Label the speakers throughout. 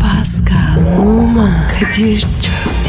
Speaker 1: Pascal, Oman, Kadir çok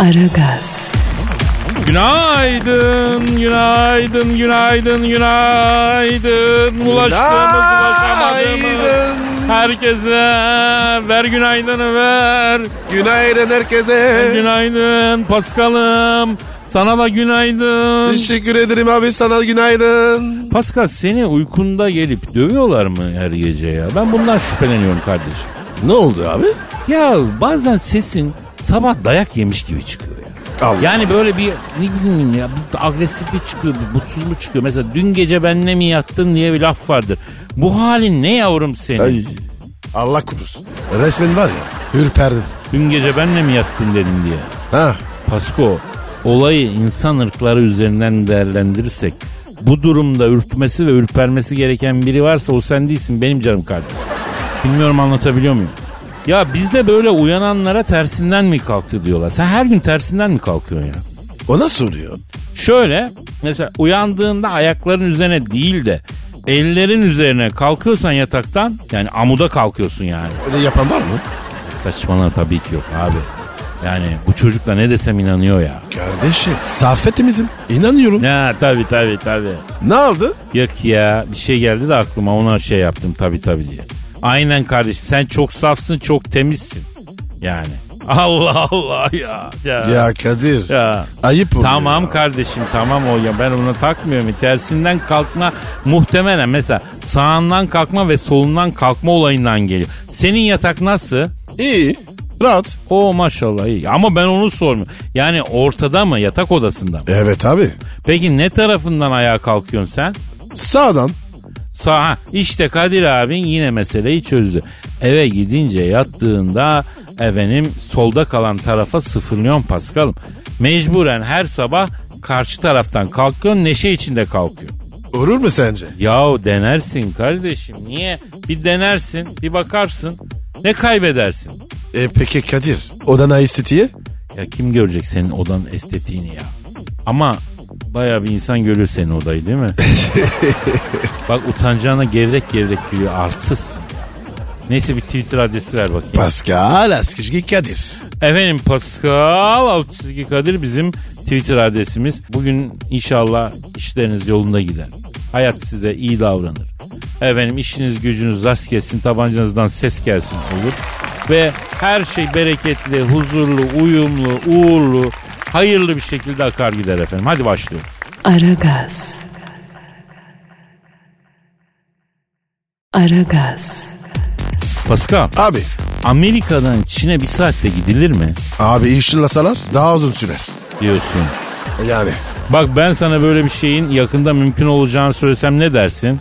Speaker 1: Aragaz,
Speaker 2: Günaydın, günaydın, günaydın, günaydın. Ulaştığımız, ulaşamadığımız.
Speaker 3: Günaydın.
Speaker 2: Herkese ver günaydını ver.
Speaker 3: Günaydın herkese.
Speaker 2: Günaydın Paskal'ım. Sana da günaydın.
Speaker 3: Teşekkür ederim abi sana günaydın.
Speaker 2: Paskal seni uykunda gelip dövüyorlar mı her gece ya? Ben bundan şüpheleniyorum kardeşim.
Speaker 3: Ne oldu abi?
Speaker 2: Ya bazen sesin sabah dayak yemiş gibi çıkıyor ya.
Speaker 3: Allah.
Speaker 2: Yani böyle bir ne bileyim ya bir agresif bir çıkıyor, bir mutsuz mu çıkıyor. Mesela dün gece benle mi yattın diye bir laf vardır. Bu halin ne yavrum senin?
Speaker 3: Ay. Allah korusun. Resmen var ya ürperdim.
Speaker 2: Dün gece benle mi yattın dedim diye.
Speaker 3: Ha.
Speaker 2: Pasko olayı insan ırkları üzerinden değerlendirirsek bu durumda ürkmesi ve ürpermesi gereken biri varsa o sen değilsin benim canım kardeşim. Bilmiyorum anlatabiliyor muyum? Ya bizde böyle uyananlara tersinden mi kalktı diyorlar. Sen her gün tersinden mi kalkıyorsun ya?
Speaker 3: O nasıl oluyor?
Speaker 2: Şöyle mesela uyandığında ayakların üzerine değil de ellerin üzerine kalkıyorsan yataktan yani amuda kalkıyorsun yani.
Speaker 3: Öyle yapan var mı?
Speaker 2: Saçmalama tabii ki yok abi. Yani bu çocuk da ne desem inanıyor ya.
Speaker 3: Kardeşim. Saffetimizim. İnanıyorum. Ne,
Speaker 2: Ya tabii tabii tabii.
Speaker 3: aldı?
Speaker 2: Yok ya bir şey geldi de aklıma ona şey yaptım tabii tabii diye. Aynen kardeşim sen çok safsın çok temizsin. Yani Allah Allah ya. Ya.
Speaker 3: Ya Kadir.
Speaker 2: ya.
Speaker 3: Ayıp oluyor.
Speaker 2: Tamam
Speaker 3: ya.
Speaker 2: kardeşim tamam o ya ben ona takmıyorum. Tersinden kalkma muhtemelen mesela sağından kalkma ve solundan kalkma olayından geliyor. Senin yatak nasıl?
Speaker 3: İyi. Rahat.
Speaker 2: O maşallah iyi ama ben onu sormuyorum. Yani ortada mı yatak odasında mı?
Speaker 3: Evet abi.
Speaker 2: Peki ne tarafından ayağa kalkıyorsun sen?
Speaker 3: Sağdan.
Speaker 2: Sağ ha, işte Kadir abin yine meseleyi çözdü. Eve gidince yattığında efendim solda kalan tarafa sıfırlıyorsun Paskal'ım. Mecburen her sabah karşı taraftan kalkıyorsun neşe içinde kalkıyorsun.
Speaker 3: Olur mu sence?
Speaker 2: Yahu denersin kardeşim niye? Bir denersin bir bakarsın ne kaybedersin?
Speaker 3: E peki Kadir. Odana estetiğe?
Speaker 2: Ya kim görecek senin odanın estetiğini ya? Ama bayağı bir insan görüyor senin odayı değil mi? Bak utancağına gevrek gevrek gülüyor arsızsın ya. Neyse bir Twitter adresi ver bakayım.
Speaker 3: Pascal Askışki Kadir.
Speaker 2: Efendim Pascal Altçizgi Kadir bizim Twitter adresimiz. Bugün inşallah işleriniz yolunda gider. Hayat size iyi davranır. Efendim işiniz gücünüz rast gelsin, tabancanızdan ses gelsin olur. Ve her şey bereketli, huzurlu, uyumlu, uğurlu, hayırlı bir şekilde akar gider efendim. Hadi başlıyoruz.
Speaker 1: Aragaz. Aragaz,
Speaker 2: Pascal,
Speaker 3: Abi.
Speaker 2: Amerika'dan Çin'e bir saatte gidilir mi
Speaker 3: Abi inşallahsalar daha uzun sürer.
Speaker 2: diyorsun?
Speaker 3: Yani.
Speaker 2: Bak ben sana böyle bir şeyin yakında mümkün olacağını söylesem ne dersin?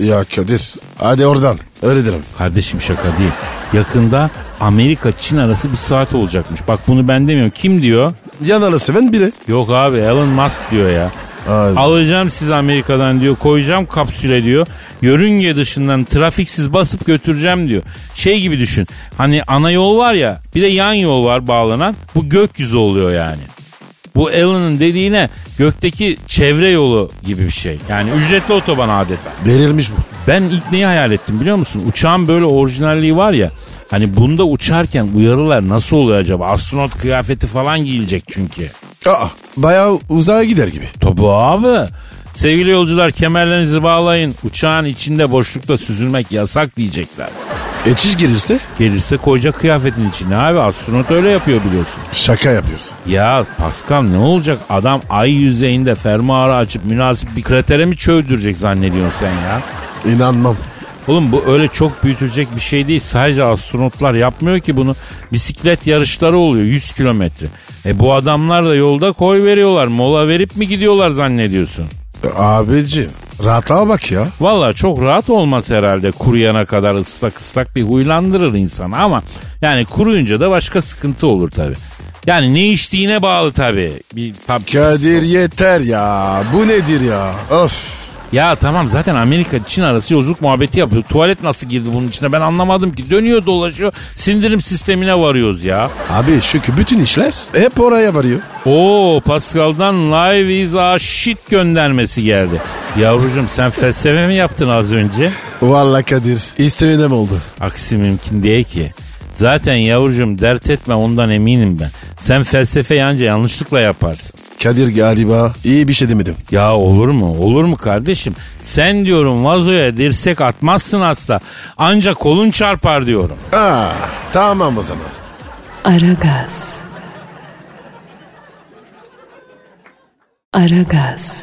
Speaker 3: Ya Kadir. Hadi oradan. Öyle derim.
Speaker 2: Kardeşim şaka değil. Yakında Amerika-Çin arası bir saat olacakmış. Bak bunu ben demiyorum. Kim diyor?
Speaker 3: Yanalı seven biri.
Speaker 2: Yok abi Elon Musk diyor ya.
Speaker 3: Ay.
Speaker 2: Alacağım sizi Amerika'dan diyor. Koyacağım kapsüle diyor. Yörünge dışından trafiksiz basıp götüreceğim diyor. Şey gibi düşün. Hani ana yol var ya bir de yan yol var bağlanan. Bu gökyüzü oluyor yani. Bu Elon'un dediğine gökteki çevre yolu gibi bir şey. Yani ücretli otoban adeta.
Speaker 3: Verilmiş bu.
Speaker 2: Ben ilk neyi hayal ettim biliyor musun? Uçağın böyle orijinalliği var ya. Hani bunda uçarken uyarılar nasıl oluyor acaba? Astronot kıyafeti falan giyilecek çünkü.
Speaker 3: Aa. Bayağı uzağa gider gibi.
Speaker 2: Tabi abi. Sevgili yolcular kemerlerinizi bağlayın. Uçağın içinde boşlukta süzülmek yasak diyecekler.
Speaker 3: Eçiş girirse
Speaker 2: Gelirse koyacak kıyafetin içine abi. Astronot öyle yapıyor biliyorsun.
Speaker 3: şaka yapıyorsun.
Speaker 2: Ya Pascal ne olacak? Adam ay yüzeyinde fermuarı açıp münasip bir kratere mi çöldürecek zannediyorsun sen ya?
Speaker 3: İnanmam.
Speaker 2: Oğlum bu öyle çok büyütülecek bir şey değil. Sadece astronotlar yapmıyor ki bunu. Bisiklet yarışları oluyor 100 kilometre. E bu adamlar da yolda koy veriyorlar. Mola verip mi gidiyorlar zannediyorsun?
Speaker 3: Abicim rahatlığa bak ya.
Speaker 2: Valla çok rahat olmaz herhalde kuruyana kadar ıslak ıslak bir huylandırır insanı ama yani kuruyunca da başka sıkıntı olur tabi. Yani ne içtiğine bağlı tabi. Bir tab-
Speaker 3: Kadir yeter ya. Bu nedir ya? Of.
Speaker 2: Ya tamam zaten Amerika Çin arası yolculuk muhabbeti yapıyor. Tuvalet nasıl girdi bunun içine ben anlamadım ki. Dönüyor dolaşıyor sindirim sistemine varıyoruz ya.
Speaker 3: Abi çünkü bütün işler hep oraya varıyor.
Speaker 2: Oo Pascal'dan live is a shit göndermesi geldi. Yavrucuğum sen felsefe mi yaptın az önce?
Speaker 3: Vallahi Kadir istemeden oldu.
Speaker 2: Aksi mümkün değil ki. Zaten yavrucuğum dert etme ondan eminim ben. Sen felsefe yanca yanlışlıkla yaparsın.
Speaker 3: Kadir galiba iyi bir şey demedim.
Speaker 2: Ya olur mu? Olur mu kardeşim? Sen diyorum vazoya dirsek atmazsın asla. Ancak kolun çarpar diyorum.
Speaker 3: Aa, tamam o zaman.
Speaker 1: Aragaz. Aragaz.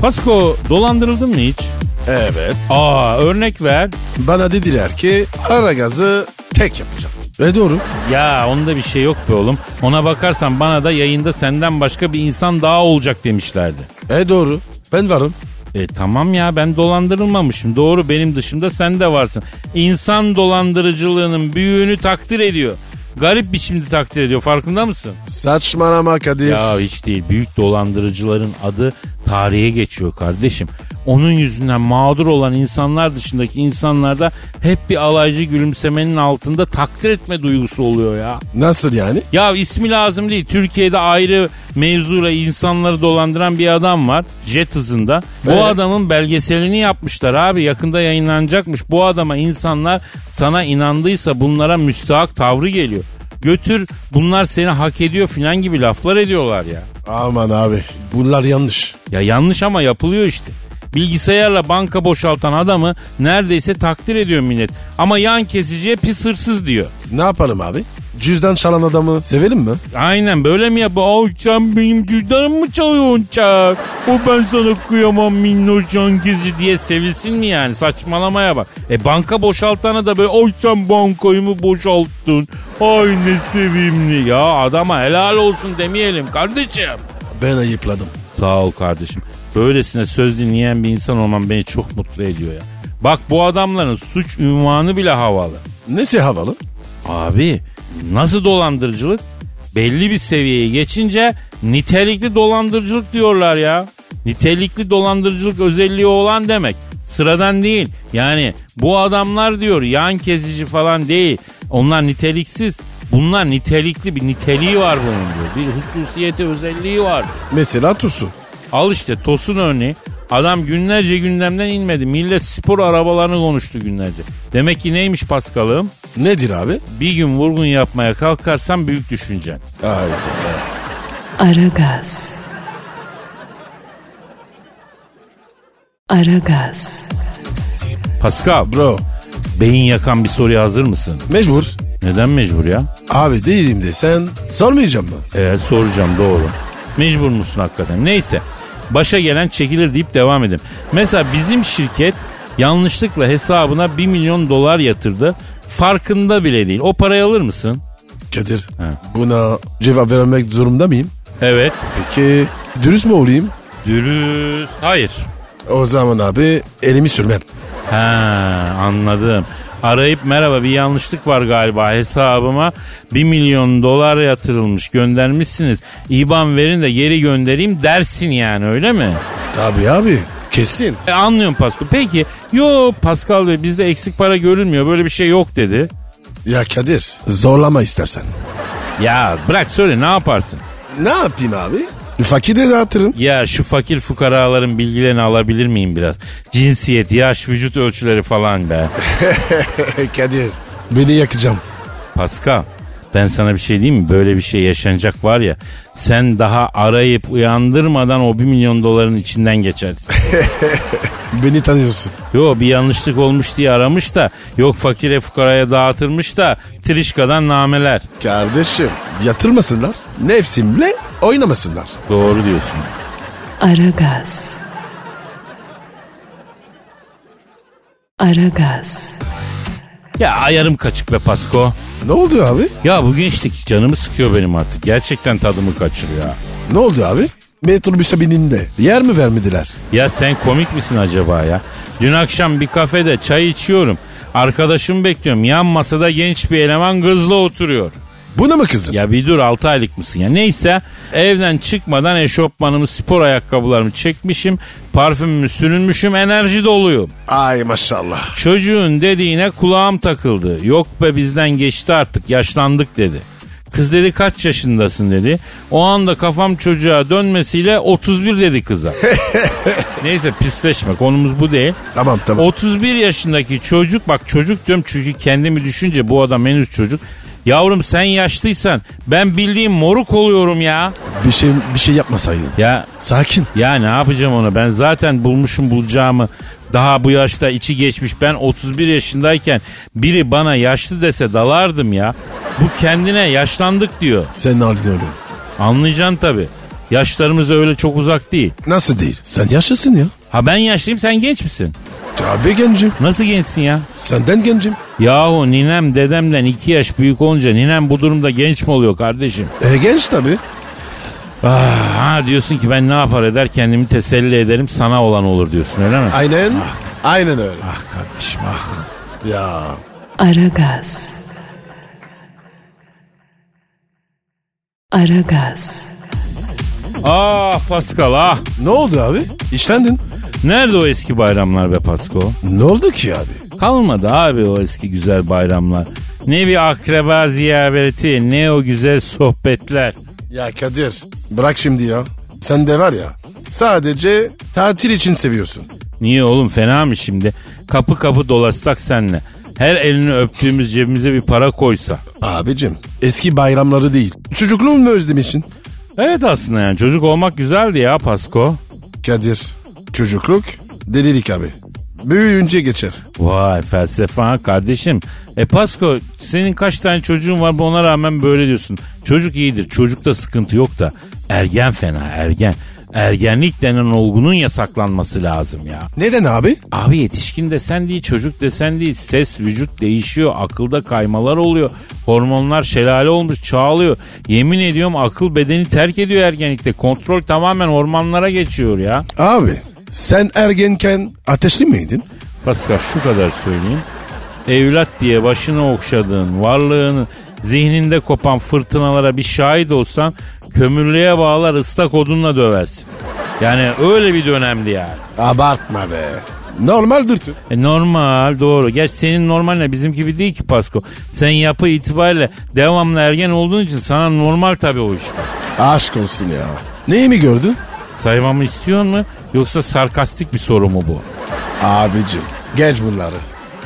Speaker 2: Pasko dolandırıldın mı hiç?
Speaker 3: Evet.
Speaker 2: Aa örnek ver.
Speaker 3: Bana dediler ki ara gazı tek yapacağım. Ve
Speaker 2: E,
Speaker 3: doğru.
Speaker 2: Ya onda bir şey yok be oğlum. Ona bakarsan bana da yayında senden başka bir insan daha olacak demişlerdi.
Speaker 3: E doğru. Ben varım.
Speaker 2: E tamam ya ben dolandırılmamışım. Doğru benim dışımda sen de varsın. İnsan dolandırıcılığının büyüğünü takdir ediyor. Garip biçimde takdir ediyor farkında mısın?
Speaker 3: Saçmalama Kadir.
Speaker 2: Ya hiç değil büyük dolandırıcıların adı tarihe geçiyor kardeşim. Onun yüzünden mağdur olan insanlar dışındaki insanlarda hep bir alaycı gülümsemenin altında takdir etme duygusu oluyor ya.
Speaker 3: Nasıl yani?
Speaker 2: Ya ismi lazım değil. Türkiye'de ayrı mevzuyla insanları dolandıran bir adam var. Jet hızında. Bu
Speaker 3: Evet.
Speaker 2: adamın belgeselini yapmışlar abi. Yakında yayınlanacakmış. Bu adama insanlar sana inandıysa bunlara müstahak tavrı geliyor. Götür bunlar seni hak ediyor filan gibi laflar ediyorlar ya.
Speaker 3: Aman abi bunlar yanlış.
Speaker 2: Ya yanlış ama yapılıyor işte. Bilgisayarla banka boşaltan adamı neredeyse takdir ediyor millet. Ama yan kesiciye pis hırsız diyor.
Speaker 3: Ne yapalım abi? Cüzdan çalan adamı sevelim mi?
Speaker 2: Aynen böyle mi yapıyor? Ay sen benim cüzdanımı mı çalıyorsun çak? O ben sana kıyamam minnoş yankezi diye sevilsin mi yani? Saçmalamaya bak. E banka boşaltana da böyle ay sen bankayı mı boşalttın? Ay ne sevimli ya adama helal olsun demeyelim kardeşim.
Speaker 3: Ben ayıpladım.
Speaker 2: Sağ ol kardeşim. Böylesine söz dinleyen bir insan olman beni çok mutlu ediyor ya. Bak bu adamların suç ünvanı bile havalı.
Speaker 3: Nesi havalı?
Speaker 2: Abi nasıl dolandırıcılık? Belli bir seviyeye geçince nitelikli dolandırıcılık diyorlar ya. Nitelikli dolandırıcılık özelliği olan demek. Sıradan değil. Yani bu adamlar diyor yan kesici falan değil. Onlar niteliksiz. Bunlar nitelikli bir niteliği var bunun diyor. Bir hususiyeti özelliği var.
Speaker 3: Mesela Tusu.
Speaker 2: Al işte Tosun örneği. Adam günlerce gündemden inmedi. Millet spor arabalarını konuştu günlerce. Demek ki neymiş Paskal'ım?
Speaker 3: Nedir abi?
Speaker 2: Bir gün vurgun yapmaya kalkarsan büyük düşüncen.
Speaker 3: Haydi.
Speaker 1: Aragaz. Aragaz.
Speaker 2: Pascal,
Speaker 3: Bro
Speaker 2: beyin yakan bir soruya hazır mısın?
Speaker 3: mecbur.
Speaker 2: Neden mecbur ya?
Speaker 3: Abi değilim desen sormayacağım mı?
Speaker 2: Evet soracağım doğru. Mecbur musun hakikaten? Neyse. Başa gelen çekilir deyip devam edin. Mesela bizim şirket yanlışlıkla hesabına 1 milyon dolar yatırdı. Farkında bile değil. O parayı alır mısın?
Speaker 3: Kadir
Speaker 2: He.
Speaker 3: buna cevap vermek zorunda mıyım?
Speaker 2: Evet.
Speaker 3: Peki dürüst mü olayım?
Speaker 2: Dürüst. Hayır.
Speaker 3: O zaman abi elimi sürmem.
Speaker 2: Ha anladım. Arayıp merhaba bir yanlışlık var galiba hesabıma 1 milyon dolar yatırılmış göndermişsiniz. İban verin de geri göndereyim dersin yani öyle mi?
Speaker 3: Tabii abi kesin.
Speaker 2: E, anlıyorum Pascal. Peki yo Pascal Bey bizde eksik para görülmüyor böyle bir şey yok dedi.
Speaker 3: Ya Kadir zorlama istersen.
Speaker 2: Ya bırak söyle ne yaparsın?
Speaker 3: Ne yapayım abi? Fakir de dağıtırım.
Speaker 2: Ya şu fakir fukaraların bilgilerini alabilir miyim biraz? Cinsiyet, yaş, vücut ölçüleri falan be.
Speaker 3: Kadir beni yakacağım.
Speaker 2: Pascal ben sana bir şey diyeyim mi? Böyle bir şey yaşanacak var ya. Sen daha arayıp uyandırmadan o 1 milyon doların içinden geçersin.
Speaker 3: Beni tanıyorsun.
Speaker 2: Yo bir yanlışlık olmuş diye aramış da yok fakire fukaraya dağıtırmış da trişkadan nameler.
Speaker 3: Kardeşim yatırmasınlar. Nefsimle oynamasınlar.
Speaker 2: Doğru diyorsun.
Speaker 1: Aragaz. Aragaz.
Speaker 2: Ya ayarım kaçık be Pasko.
Speaker 3: Ne oldu abi?
Speaker 2: Ya bu gençlik canımı sıkıyor benim artık. Gerçekten tadımı kaçırıyor. ha.
Speaker 3: Ne oldu abi? Metrobüse bininde. Yer mi vermediler?
Speaker 2: Ya sen komik misin acaba ya? Dün akşam bir kafede çay içiyorum. Arkadaşımı bekliyorum. Yan masada genç bir eleman kızla oturuyor.
Speaker 3: Buna mı kızın?
Speaker 2: Ya bir dur 6 aylık mısın ya? Neyse evden çıkmadan eşofmanımı, spor ayakkabılarımı çekmişim. Parfümümü sürünmüşüm, enerji doluyum.
Speaker 3: Ay maşallah.
Speaker 2: Çocuğun dediğine kulağım takıldı. Yok be bizden geçti artık yaşlandık dedi. Kız dedi kaç yaşındasın dedi. O anda kafam çocuğa dönmesiyle 31 dedi kıza. Neyse pisleşme konumuz bu değil.
Speaker 3: Tamam tamam.
Speaker 2: 31 yaşındaki çocuk bak çocuk diyorum çünkü kendimi düşünce bu adam henüz çocuk. Yavrum sen yaşlıysan ben bildiğim moruk oluyorum ya.
Speaker 3: Bir şey bir şey yapmasaydın.
Speaker 2: Ya
Speaker 3: Sakin.
Speaker 2: ya ne yapacağım onu ben zaten bulmuşum bulacağımı. Daha bu yaşta içi geçmiş ben 31 yaşındayken biri bana yaşlı dese dalardım ya. Bu kendine yaşlandık diyor.
Speaker 3: Sen anlıyorum.
Speaker 2: Anlayacaksın tabii. Yaşlarımız öyle çok uzak değil.
Speaker 3: Nasıl değil? Sen yaşlısın ya.
Speaker 2: Ha ben yaşlıyım sen genç misin?
Speaker 3: Tabii gencim.
Speaker 2: Nasıl gençsin ya?
Speaker 3: Senden gencim.
Speaker 2: Yahu ninem dedemden iki yaş büyük olunca ninem bu durumda genç mi oluyor kardeşim?
Speaker 3: E genç tabii.
Speaker 2: Ah, ha diyorsun ki ben ne yapar eder kendimi teselli ederim sana olan olur diyorsun öyle mi?
Speaker 3: Aynen. Aynen öyle.
Speaker 2: Ah kardeşim ah.
Speaker 3: Ya.
Speaker 1: Aragaz. Aragaz.
Speaker 2: Ah Pascal ah.
Speaker 3: Ne oldu abi? İşlendin.
Speaker 2: Nerede o eski bayramlar be Pasko?
Speaker 3: Ne oldu ki abi?
Speaker 2: Kalmadı abi o eski güzel bayramlar. Ne bir akraba ziyareti ne o güzel sohbetler.
Speaker 3: Ya Kadir bırak şimdi ya. Sen de var ya sadece tatil için seviyorsun.
Speaker 2: Niye oğlum fena mı şimdi? Kapı kapı dolaşsak senle. Her elini öptüğümüz cebimize bir para koysa.
Speaker 3: Abicim eski bayramları değil. Çocukluğunu mu özlemişsin?
Speaker 2: Evet aslında yani çocuk olmak güzeldi ya Pasko.
Speaker 3: Kadir çocukluk delilik abi. Büyüyünce geçer.
Speaker 2: Vay felsefe ha kardeşim. E Pasko senin kaç tane çocuğun var bu ona rağmen böyle diyorsun. Çocuk iyidir çocukta sıkıntı yok da ergen fena ergen. Ergenlik denen olgunun yasaklanması lazım ya.
Speaker 3: Neden abi?
Speaker 2: Abi yetişkin desen değil çocuk desen değil ses vücut değişiyor akılda kaymalar oluyor hormonlar şelale olmuş çağlıyor yemin ediyorum akıl bedeni terk ediyor ergenlikte kontrol tamamen hormonlara geçiyor ya.
Speaker 3: Abi sen ergenken ateşli miydin?
Speaker 2: Pascal şu kadar söyleyeyim. Evlat diye başını okşadığın, varlığını zihninde kopan fırtınalara bir şahit olsan kömürlüğe bağlar ıslak odunla döversin. Yani öyle bir dönemdi yani.
Speaker 3: Abartma be. Normaldir.
Speaker 2: E normal doğru. Gerçi senin normalle bizimki gibi değil ki Pasko. Sen yapı itibariyle devamlı ergen olduğun için sana normal tabii o işte.
Speaker 3: Aşk olsun ya. Neyi mi gördün?
Speaker 2: Saymamı istiyor mu yoksa sarkastik bir soru mu bu?
Speaker 3: Abicim geç bunları.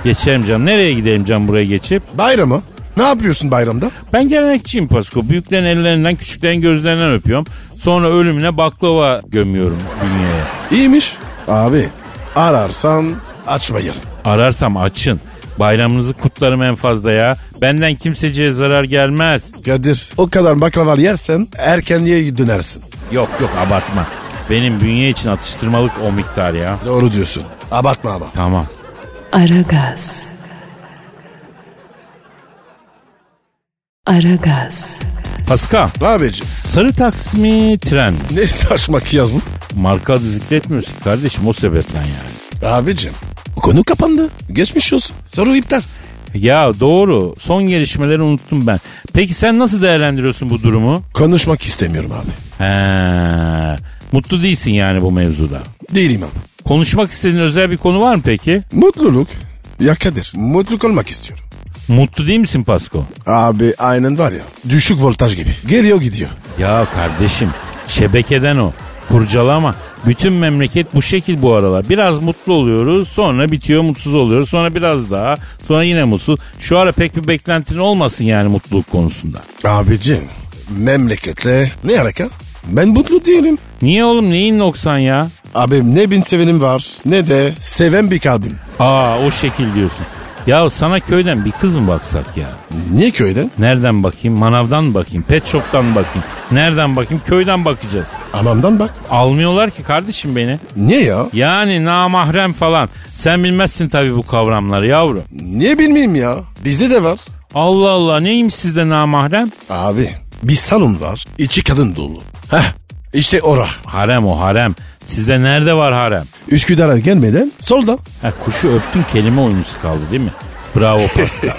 Speaker 2: Geçelim canım. Nereye gidelim canım buraya geçip?
Speaker 3: Bayrama? Ne yapıyorsun bayramda?
Speaker 2: Ben gelenekçiyim Pasko. Büyüklerin ellerinden, küçüklerin gözlerinden öpüyorum. Sonra ölümüne baklava gömüyorum dünyaya.
Speaker 3: İyiymiş. Abi ararsan açmayın.
Speaker 2: Ararsam açın. Bayramınızı kutlarım en fazla ya. Benden kimseciye zarar gelmez.
Speaker 3: Kadir o kadar baklava yersen erkenliğe dönersin.
Speaker 2: Yok yok abartma. Benim bünye için atıştırmalık o miktar ya.
Speaker 3: Doğru diyorsun. Abartma ama.
Speaker 2: Tamam.
Speaker 1: Aragaz. Aragaz.
Speaker 2: Paska,
Speaker 3: Abicim
Speaker 2: sarı taksimi tren. mi?
Speaker 3: ne saçma kıyas bu?
Speaker 2: Marka adı zikretmiyorsun kardeşim o sebepten yani.
Speaker 3: Abicim konu kapandı. Geçmiş olsun. Soru iptal.
Speaker 2: Ya doğru. Son gelişmeleri unuttum ben. Peki sen nasıl değerlendiriyorsun bu durumu?
Speaker 3: Konuşmak istemiyorum abi.
Speaker 2: He. Mutlu değilsin yani bu mevzuda.
Speaker 3: Değilim abi.
Speaker 2: Konuşmak istediğin özel bir konu var mı peki?
Speaker 3: Mutluluk. Ya Kadir mutluluk olmak istiyorum.
Speaker 2: Mutlu değil misin Pasko?
Speaker 3: Abi aynen var ya düşük voltaj gibi. Geliyor gidiyor.
Speaker 2: Ya kardeşim şebekeden o. Kurcalama. Bütün memleket bu şekil bu aralar. Biraz mutlu oluyoruz sonra bitiyor mutsuz oluyoruz sonra biraz daha sonra yine mutsuz. Şu ara pek bir beklentin olmasın yani mutluluk konusunda.
Speaker 3: Abicim memleketle ne alaka? Ben mutlu değilim.
Speaker 2: Niye oğlum neyin noksan ya?
Speaker 3: Abim ne bin sevenim var ne de seven bir kalbim.
Speaker 2: Aa o şekil diyorsun. Ya sana köyden bir kız mı baksak ya?
Speaker 3: Niye köyden?
Speaker 2: Nereden bakayım? Manavdan mı bakayım? Pet shop'tan mı bakayım? Nereden bakayım? Köyden bakacağız.
Speaker 3: Anamdan bak.
Speaker 2: Almıyorlar ki kardeşim beni.
Speaker 3: Niye ya?
Speaker 2: Yani namahrem falan. Sen bilmezsin tabii bu kavramları yavrum.
Speaker 3: Niye bilmeyeyim ya? Bizde de var.
Speaker 2: Allah Allah neymiş sizde namahrem?
Speaker 3: Abi bir salon var. içi kadın dolu. Heh İşte ora.
Speaker 2: Harem o harem. Sizde nerede var harem?
Speaker 3: Üsküdar'a gelmeden solda.
Speaker 2: Ha, kuşu öptün kelime oyunusu kaldı değil mi? Bravo Pascal.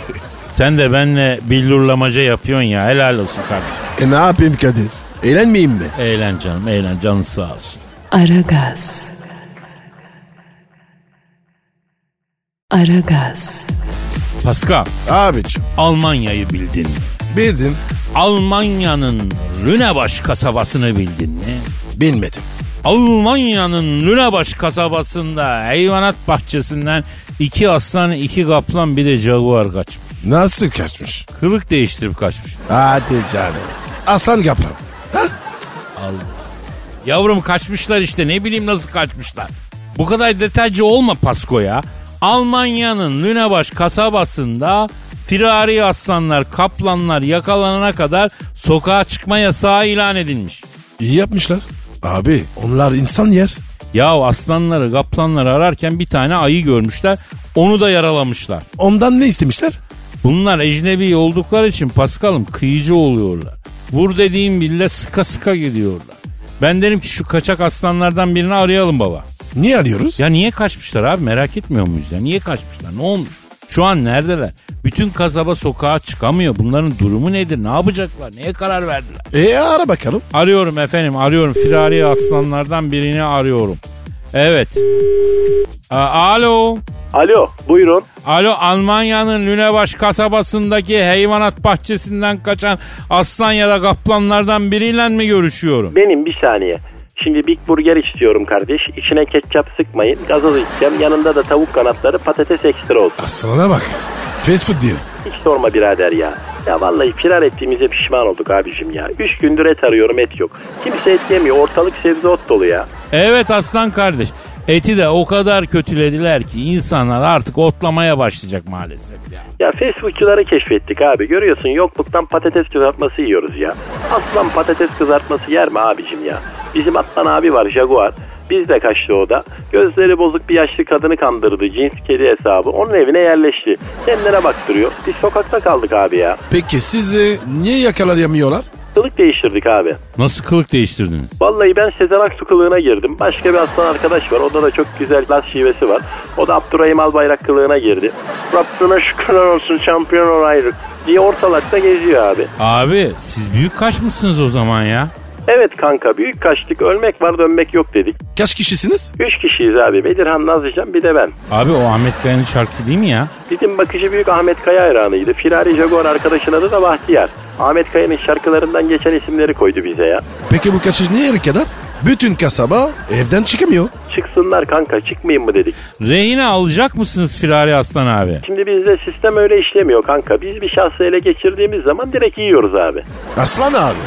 Speaker 2: Sen de benle billurlamaca yapıyorsun ya. Helal olsun kardeşim.
Speaker 3: E ne yapayım Kadir? Eğlenmeyeyim mi?
Speaker 2: Eğlen canım eğlen canın sağ olsun.
Speaker 1: Aragaz. Aragaz.
Speaker 2: Pascal
Speaker 3: Abicim
Speaker 2: Almanya'yı bildin mi?
Speaker 3: bildim
Speaker 2: Almanya'nın Lünebaş kasabasını bildin mi?
Speaker 3: bilmedim.
Speaker 2: Almanya'nın Lünebaş kasabasında hayvanat bahçesinden iki aslan, iki kaplan bir de jaguar kaçmış.
Speaker 3: Nasıl kaçmış?
Speaker 2: Kılık değiştirip kaçmış.
Speaker 3: Hadi canım. Aslan kaplan.
Speaker 2: Yavrum kaçmışlar işte ne bileyim nasıl kaçmışlar. Bu kadar detaycı olma Pasko ya. Almanya'nın Lünebaş kasabasında firari aslanlar, kaplanlar yakalanana kadar sokağa çıkma yasağı ilan edilmiş.
Speaker 3: İyi yapmışlar. Abi onlar insan yer.
Speaker 2: Ya aslanları, kaplanları ararken bir tane ayı görmüşler. Onu da yaralamışlar.
Speaker 3: Ondan ne istemişler?
Speaker 2: Bunlar ecnebi oldukları için Paskal'ım kıyıcı oluyorlar. Vur dediğim bile sıka sıka gidiyorlar. Ben derim ki şu kaçak aslanlardan birini arayalım baba.
Speaker 3: Niye arıyoruz?
Speaker 2: Ya niye kaçmışlar abi merak etmiyor muyuz ya? Niye kaçmışlar? Ne olmuş? Şu an neredeler? Bütün kasaba sokağa çıkamıyor. Bunların durumu nedir? Ne yapacaklar? Neye karar verdiler?
Speaker 3: E ara bakalım.
Speaker 2: Arıyorum efendim arıyorum. Firari aslanlardan birini arıyorum. Evet. A- Alo.
Speaker 4: Alo buyurun.
Speaker 2: Alo Almanya'nın Lünebaş kasabasındaki hayvanat bahçesinden kaçan aslan ya da kaplanlardan biriyle mi görüşüyorum?
Speaker 4: Benim bir saniye. Şimdi Big Burger istiyorum kardeş. İçine ketçap sıkmayın. Gazoz içeceğim. Yanında da tavuk kanatları patates ekstra olsun.
Speaker 3: Aslana bak. Fast food diyor.
Speaker 4: Hiç sorma birader ya. Ya vallahi firar ettiğimize pişman olduk abicim ya. Üç gündür et arıyorum et yok. Kimse et yemiyor. Ortalık sebze ot dolu ya.
Speaker 2: Evet aslan kardeş. Eti de o kadar kötülediler ki insanlar artık otlamaya başlayacak maalesef ya.
Speaker 4: Ya Facebookçuları keşfettik abi. Görüyorsun yokluktan patates kızartması yiyoruz ya. Aslan patates kızartması yer mi abicim ya? Bizim Atlan abi var Jaguar. Biz de kaçtı o da. Gözleri bozuk bir yaşlı kadını kandırdı. Cins kedi hesabı. Onun evine yerleşti. Kendine baktırıyor. Biz sokakta kaldık abi ya.
Speaker 3: Peki sizi niye yakalayamıyorlar?
Speaker 4: Kılık değiştirdik abi.
Speaker 2: Nasıl kılık değiştirdiniz?
Speaker 4: Vallahi ben Sezen Aksu kılığına girdim. Başka bir aslan arkadaş var. Onda da çok güzel laf şivesi var. O da Abdurrahim Albayrak kılığına girdi. Rabbine şükürler olsun şampiyon olaydık diye ortalıkta geziyor abi.
Speaker 2: Abi siz büyük kaçmışsınız o zaman ya.
Speaker 4: Evet kanka büyük kaçtık ölmek var dönmek yok dedik.
Speaker 3: Kaç kişisiniz?
Speaker 4: Üç kişiyiz abi Bedirhan Nazlıcan bir de ben.
Speaker 2: Abi o Ahmet Kaya'nın şarkısı değil mi ya?
Speaker 4: Bizim bakıcı büyük Ahmet Kaya hayranıydı. Firari Jaguar arkadaşın adı da Bahtiyar. Ahmet Kaya'nın şarkılarından geçen isimleri koydu bize ya.
Speaker 3: Peki bu kaçış niye yere kadar? Bütün kasaba evden çıkamıyor.
Speaker 4: Çıksınlar kanka çıkmayın mı dedik.
Speaker 2: Rehine alacak mısınız Firari Aslan abi?
Speaker 4: Şimdi bizde sistem öyle işlemiyor kanka. Biz bir şahsı ele geçirdiğimiz zaman direkt yiyoruz abi.
Speaker 3: Aslan abi.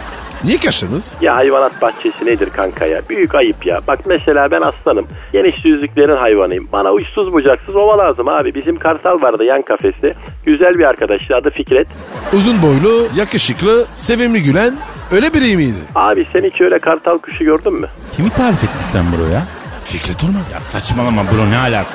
Speaker 3: Niye kaçtınız?
Speaker 4: Ya hayvanat bahçesi nedir kanka ya? Büyük ayıp ya. Bak mesela ben aslanım. Geniş düzlüklerin hayvanıyım. Bana uçsuz bucaksız ova lazım abi. Bizim kartal vardı yan kafeste. Güzel bir arkadaştı adı Fikret.
Speaker 3: Uzun boylu, yakışıklı, sevimli gülen öyle biri miydi?
Speaker 4: Abi sen hiç öyle kartal kuşu gördün mü?
Speaker 2: Kimi tarif ettin sen bro ya?
Speaker 3: Fikret Orman.
Speaker 2: Ya saçmalama bro ne alaka?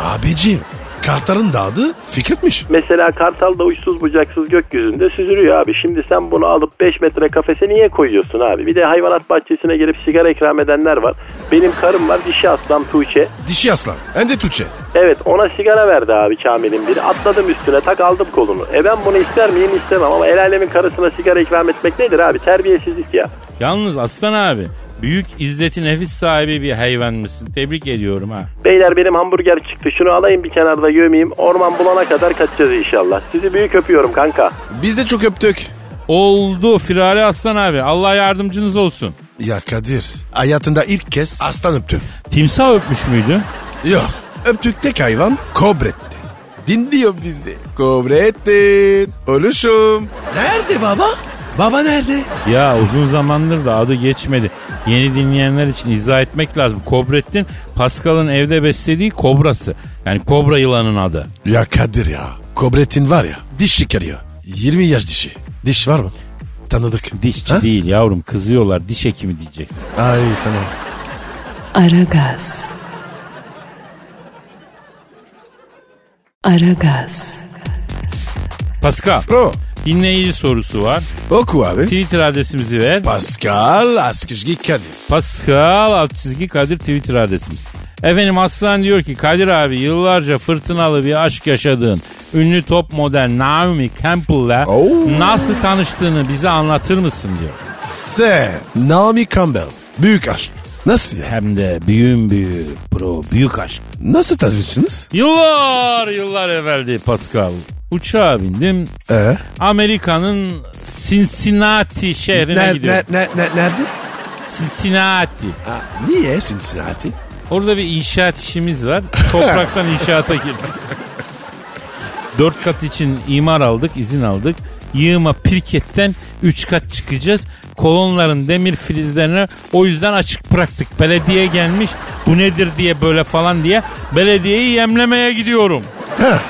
Speaker 3: Abiciğim. Kartalın da adı Fikret'miş.
Speaker 4: Mesela kartal da uçsuz bucaksız gökyüzünde süzülüyor abi. Şimdi sen bunu alıp 5 metre kafese niye koyuyorsun abi? Bir de hayvanat bahçesine gelip sigara ikram edenler var. Benim karım var dişi aslan Tuğçe.
Speaker 3: Dişi aslan. Hem de Tuğçe.
Speaker 4: Evet ona sigara verdi abi Kamil'in biri. Atladım üstüne tak aldım kolunu. E ben bunu ister miyim istemem ama el alemin karısına sigara ikram etmek nedir abi? Terbiyesizlik ya.
Speaker 2: Yalnız Aslan abi büyük izzeti nefis sahibi bir hayvan mısın? Tebrik ediyorum ha.
Speaker 4: Beyler benim hamburger çıktı şunu alayım bir kenarda gömeyim. Orman bulana kadar kaçacağız inşallah. Sizi büyük öpüyorum kanka.
Speaker 3: Biz de çok öptük.
Speaker 2: Oldu Firari Aslan abi. Allah yardımcınız olsun.
Speaker 3: Ya Kadir. Hayatında ilk kez aslan öptüm.
Speaker 2: Timsah öpmüş müydü?
Speaker 3: Yok. Öptük tek hayvan kobretti. Dinliyor bizi. Kobrettin. Oluşum. Nerede baba? Baba nerede?
Speaker 2: Ya uzun zamandır da adı geçmedi. Yeni dinleyenler için izah etmek lazım. Kobrettin Pascal'ın evde beslediği kobrası. Yani kobra yılanın adı.
Speaker 3: Ya Kadir ya. Kobrettin var ya. Diş çıkarıyor. 20 yaş dişi. Diş var mı? Tanıdık.
Speaker 2: Dişçi
Speaker 3: Ha?
Speaker 2: değil yavrum kızıyorlar diş hekimi diyeceksin.
Speaker 3: Ay tamam.
Speaker 1: Aragaz. Aragaz.
Speaker 2: Pascal
Speaker 3: Bro.
Speaker 2: Dinleyici sorusu var.
Speaker 3: Oku abi.
Speaker 2: Twitter adresimizi ver.
Speaker 3: Pascal Askizgi Kadir.
Speaker 2: Pascal alt çizgi Kadir Twitter adresimiz. Efendim Aslan diyor ki Kadir abi yıllarca fırtınalı bir aşk yaşadığın ünlü top model Naomi Campbell'la
Speaker 3: Oo.
Speaker 2: nasıl tanıştığını bize anlatır mısın diyor.
Speaker 3: S. Naomi Campbell. Büyük aşk. Nasıl ya?
Speaker 2: Hem de büyüğün büyüğü bro büyük aşk.
Speaker 3: Nasıl tanıştınız?
Speaker 2: Yıllar yıllar evveldi Pascal. Uçağa bindim.
Speaker 3: Ee?
Speaker 2: Amerika'nın Cincinnati şehrine
Speaker 3: Ner-
Speaker 2: gidiyorum.
Speaker 3: ner- ner- ner- nerede?
Speaker 2: Cincinnati.
Speaker 3: Ha, niye Cincinnati?
Speaker 2: Orada bir inşaat işimiz var. Topraktan inşaata girdik. Dört kat için imar aldık, izin aldık. Yığıma pirketten üç kat çıkacağız. Kolonların demir filizlerini o yüzden açık bıraktık. Belediye gelmiş bu nedir diye böyle falan diye belediyeyi yemlemeye gidiyorum.
Speaker 3: Ha,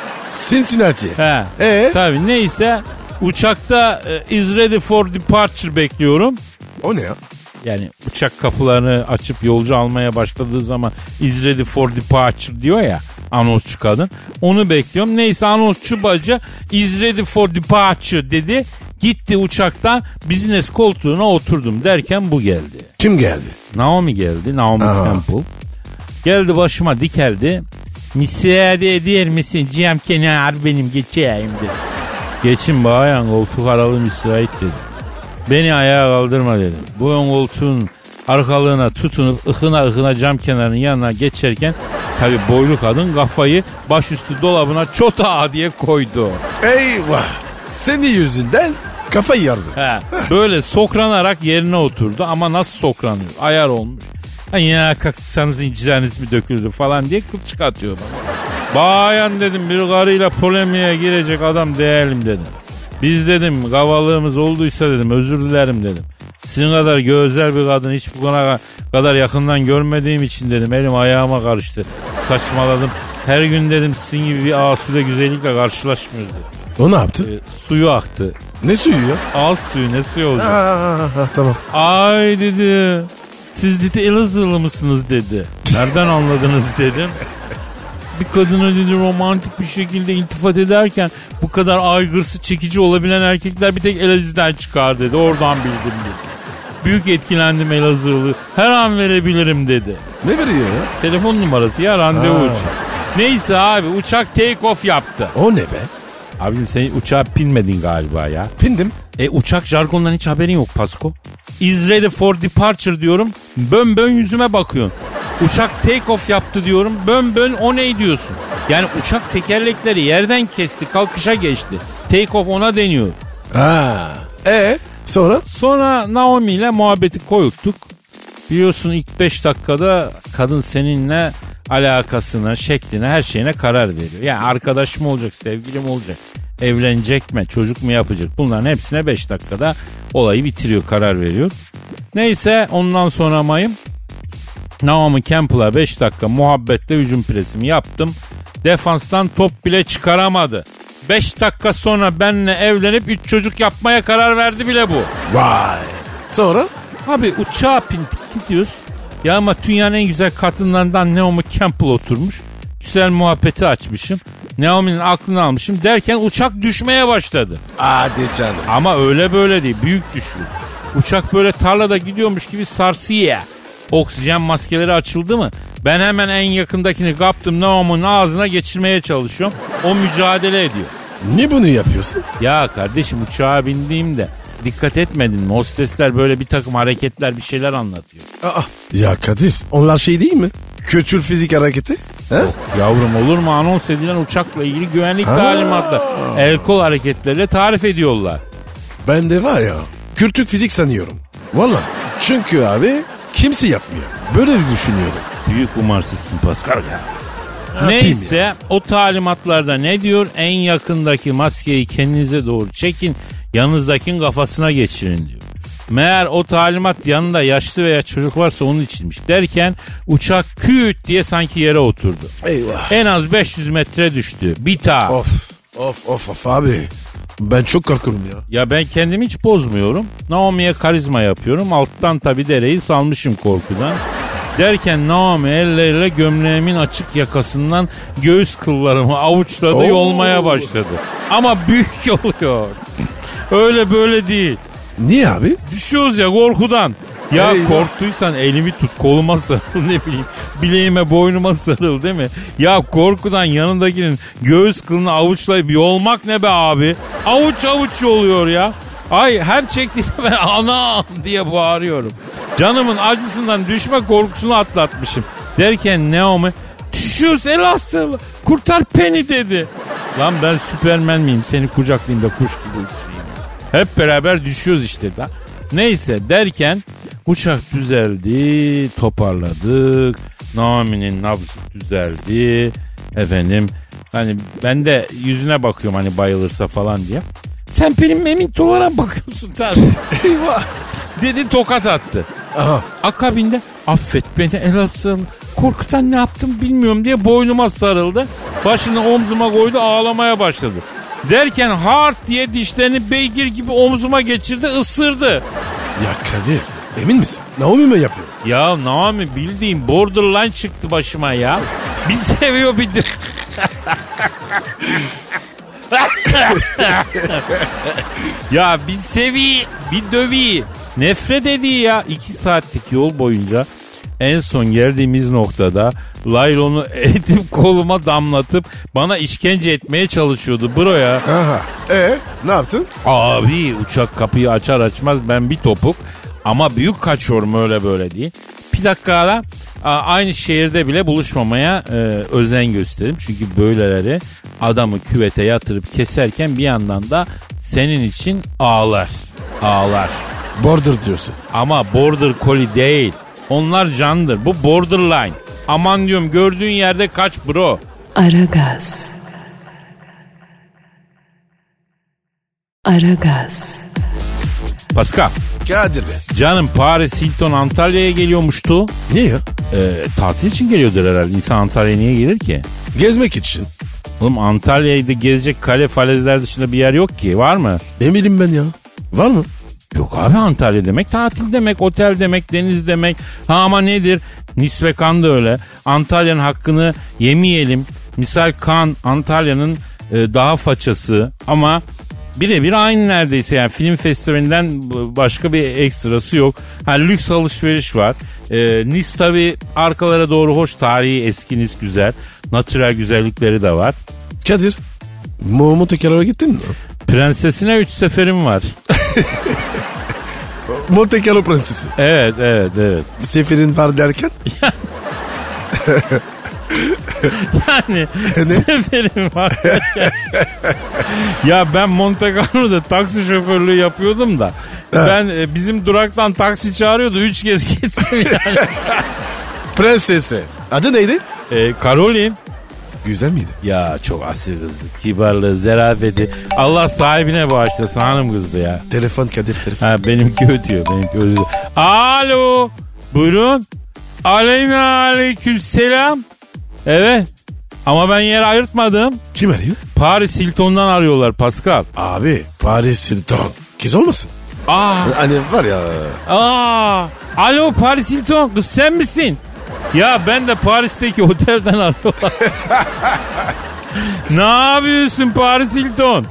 Speaker 3: Cincinnati.
Speaker 2: He.
Speaker 3: Ee?
Speaker 2: Tabii neyse uçakta e, is ready for departure bekliyorum.
Speaker 3: O ne ya?
Speaker 2: Yani uçak kapılarını açıp yolcu almaya başladığı zaman is ready for departure diyor ya anonsçu kadın. Onu bekliyorum. Neyse anonsçu bacı is ready for departure dedi. Gitti uçaktan business koltuğuna oturdum derken bu geldi.
Speaker 3: Kim geldi?
Speaker 2: Naomi geldi. Naomi
Speaker 3: Aha.
Speaker 2: Campbell. Geldi başıma dikeldi. Müsaade eder misin? Cem kenar benim geçeyim dedi. Geçin bayan koltuk aralı müsait dedi. Beni ayağa kaldırma dedim. Bu ön koltuğun arkalığına tutunup ıkına ıkına cam kenarının yanına geçerken tabi boylu kadın kafayı başüstü dolabına çota diye koydu.
Speaker 3: Eyvah. Senin yüzünden kafayı yardım.
Speaker 2: He, böyle sokranarak yerine oturdu ama nasıl sokranıyor? Ayar olmuş. Ha, ya kalksanız incirleriniz mi döküldü falan diye kılçık atıyor bana. Bayan dedim bir karıyla polemiğe girecek adam değilim dedim. Biz dedim kavalığımız olduysa dedim özür dilerim dedim. Sizin kadar gözel bir kadın hiç bu kadar, kadar yakından görmediğim için dedim elim ayağıma karıştı. Saçmaladım. Her gün dedim sizin gibi bir asude güzellikle karşılaşmıyoruz dedim.
Speaker 3: O ne yaptı?
Speaker 2: E, suyu aktı.
Speaker 3: Ne suyu ya?
Speaker 2: Ağız suyu ne suyu olacak?
Speaker 3: Ha, ha, tamam.
Speaker 2: Ay dedi. Siz dedi Elazığlı mısınız dedi. Nereden anladınız dedim. Bir kadına dedi romantik bir şekilde iltifat ederken bu kadar aygırsı çekici olabilen erkekler bir tek Elazığ'dan çıkar dedi. Oradan bildim dedi. Büyük etkilendim Elazığlı. Her an verebilirim dedi.
Speaker 3: Ne veriyor ya?
Speaker 2: Telefon numarası ya randevu
Speaker 3: Ha.
Speaker 2: uçak. Neyse abi uçak take off yaptı.
Speaker 3: O ne be?
Speaker 2: Abim sen uçağa binmedin galiba ya.
Speaker 3: Pindim.
Speaker 2: E uçak jargondan hiç haberin yok Pasko. Is ready for departure diyorum. Bön bön yüzüme bakıyorsun. Uçak take off yaptı diyorum. Bön bön o ne diyorsun? Yani uçak tekerlekleri yerden kesti kalkışa geçti. Take off ona deniyor.
Speaker 3: Ha. E sonra?
Speaker 2: Sonra Naomi ile muhabbeti koyuttuk. Biliyorsun ilk 5 dakikada kadın seninle alakasına, şekline, her şeyine karar veriyor. Yani arkadaş mı olacak, sevgili mi olacak, evlenecek mi, çocuk mu yapacak? Bunların hepsine 5 dakikada olayı bitiriyor, karar veriyor. Neyse ondan sonra mayım Naomi Campbell'a 5 dakika muhabbetle hücum presimi yaptım. Defanstan top bile çıkaramadı. 5 dakika sonra benle evlenip 3 çocuk yapmaya karar verdi bile bu.
Speaker 3: Vay. Sonra?
Speaker 2: Abi uçağa bindik gidiyoruz. Ya ama dünyanın en güzel kadınlarından Naomi Campbell oturmuş. Güzel muhabbeti açmışım. Naomi'nin aklını almışım derken uçak düşmeye başladı.
Speaker 3: Hadi canım.
Speaker 2: Ama öyle böyle değil büyük düşüyor. Uçak böyle tarlada gidiyormuş gibi sarsıyor. Oksijen maskeleri açıldı mı? Ben hemen en yakındakini kaptım Naomi'nin ağzına geçirmeye çalışıyorum. O mücadele ediyor.
Speaker 3: Ne bunu yapıyorsun?
Speaker 2: Ya kardeşim uçağa bindiğimde dikkat etmedin mi? Hostesler böyle bir takım hareketler bir şeyler anlatıyor.
Speaker 3: Aa. Ya Kadir onlar şey değil mi? Köçül fizik hareketi. He?
Speaker 2: Yavrum olur mu anons edilen uçakla ilgili güvenlik
Speaker 3: Ha.
Speaker 2: talimatları el kol hareketleriyle tarif ediyorlar.
Speaker 3: Ben de var ya kültür fizik sanıyorum. Valla. Çünkü abi kimse yapmıyor. Böyle düşünüyordum.
Speaker 2: Büyük umarsızsın Pascal ya.
Speaker 3: yapayım
Speaker 2: Neyse o talimatlarda ne diyor? En yakındaki maskeyi kendinize doğru çekin. Yanınızdakinin kafasına geçirin diyor. Meğer o talimat yanında yaşlı veya çocuk varsa onun içinmiş derken uçak küt diye sanki yere oturdu.
Speaker 3: Eyvah.
Speaker 2: En az 500 metre düştü. Bir ta.
Speaker 3: Of. Of of of abi. Ben çok korkuyorum ya.
Speaker 2: Ya ben kendimi hiç bozmuyorum. Naomi'ye karizma yapıyorum. Alttan tabi dereyi salmışım korkudan. Derken Naomi elleriyle gömleğimin açık yakasından göğüs kıllarımı avuçladı
Speaker 3: Oo.
Speaker 2: yolmaya başladı. Ama büyük yoluyor. Öyle böyle değil.
Speaker 3: Niye abi?
Speaker 2: Düşüyoruz ya korkudan. Ya
Speaker 3: Eyvah.
Speaker 2: korktuysan elimi tut koluma sarıl ne bileyim bileğime boynuma sarıl değil mi? Ya korkudan yanındakinin göğüs kılını avuçlayıp yolmak ne be abi? Avuç avuç yoluyor ya. Ay her çektiğimde ben anam diye bağırıyorum. Canımın acısından düşme korkusunu atlatmışım. Derken Naomi düşüyoruz Elazığlı kurtar beni dedi. Lan ben süpermen miyim seni kucaklayayım da kuş gibi uçurayım. Hep beraber düşüyoruz işte da. Neyse derken uçak düzeldi, toparladık. Naomi'nin nabzı düzeldi. Efendim hani ben de yüzüne bakıyorum hani bayılırsa falan diye. Sen benim memint olarak bakıyorsun tabii.
Speaker 3: Eyvah.
Speaker 2: Dedi tokat attı.
Speaker 3: Aha.
Speaker 2: Akabinde affet beni Elazığlı. Korkutan ne yaptım bilmiyorum diye boynuma sarıldı. Başını omzuma koydu ağlamaya başladı. Derken hard diye dişlerini beygir gibi omzuma geçirdi ısırdı.
Speaker 3: Ya Kadir emin misin? Naomi mi yapıyor?
Speaker 2: Ya Naomi bildiğin borderline çıktı başıma ya. Bir seviyor bir de... ya bir sevi, bir dövi. Nefret ediyor ya. İki saatlik yol boyunca en son geldiğimiz noktada laylonu eritip koluma damlatıp bana işkence etmeye çalışıyordu bro ya.
Speaker 3: Aha. E ne yaptın?
Speaker 2: Abi uçak kapıyı açar açmaz ben bir topuk ama büyük kaçıyorum öyle böyle değil. Bir dakika ara a- aynı şehirde bile buluşmamaya e, özen gösteririm. Çünkü böyleleri adamı küvete yatırıp keserken bir yandan da senin için ağlar. Ağlar.
Speaker 3: Border diyorsun.
Speaker 2: Ama border collie değil. Onlar candır. Bu borderline. Aman diyorum gördüğün yerde kaç bro.
Speaker 1: Aragaz. Aragaz.
Speaker 2: Pascal.
Speaker 3: Kadir be.
Speaker 2: Canım Paris Hilton Antalya'ya geliyormuştu.
Speaker 3: Niye ya?
Speaker 2: Ee, tatil için geliyordur herhalde. İnsan Antalya'ya niye gelir ki?
Speaker 3: Gezmek için.
Speaker 2: Oğlum Antalya'da gezecek kale falezler dışında bir yer yok ki. Var mı?
Speaker 3: Eminim ben ya. Var mı?
Speaker 2: Yok abi Antalya demek tatil demek, otel demek, deniz demek. Ha ama nedir? Nisve kan da öyle. Antalya'nın hakkını yemeyelim. Misal kan Antalya'nın e, daha façası ama birebir aynı neredeyse yani film festivalinden b- başka bir ekstrası yok. Ha lüks alışveriş var. E, Nis tabi arkalara doğru hoş tarihi eski Nis güzel. Natürel güzellikleri de var.
Speaker 3: Kadir. Mumu tekrara gittin mi?
Speaker 2: Prensesine 3 seferim var.
Speaker 3: Montekaro prensesi.
Speaker 2: Evet evet evet.
Speaker 3: Seferin var derken
Speaker 2: Yani seferim var. ya ben Monte Carlo'da taksi şoförlüğü yapıyordum da. Ben e, bizim duraktan taksi çağırıyordu. Üç kez gittim yani.
Speaker 3: prensesi. Adı neydi?
Speaker 2: e, Karolin.
Speaker 3: Güzel miydi?
Speaker 2: Ya çok asil kızdı. Kibarlığı, zerafeti. Allah sahibine bağışlasın hanım kızdı ya.
Speaker 3: Telefon Kadir telefon.
Speaker 2: Ha benimki ötüyor. Benimki ötüyor. Alo. Buyurun. Aleyna aleyküm selam. Evet. Ama ben yer ayırtmadım.
Speaker 3: Kim arıyor?
Speaker 2: Paris Hilton'dan arıyorlar Pascal.
Speaker 3: Abi Paris Hilton. Kız olmasın?
Speaker 2: Aa,
Speaker 3: Hani var ya.
Speaker 2: aa. Alo Paris Hilton kız sen misin? Ya ben de Paris'teki otelden arıyorlar. ne yapıyorsun Paris Hilton?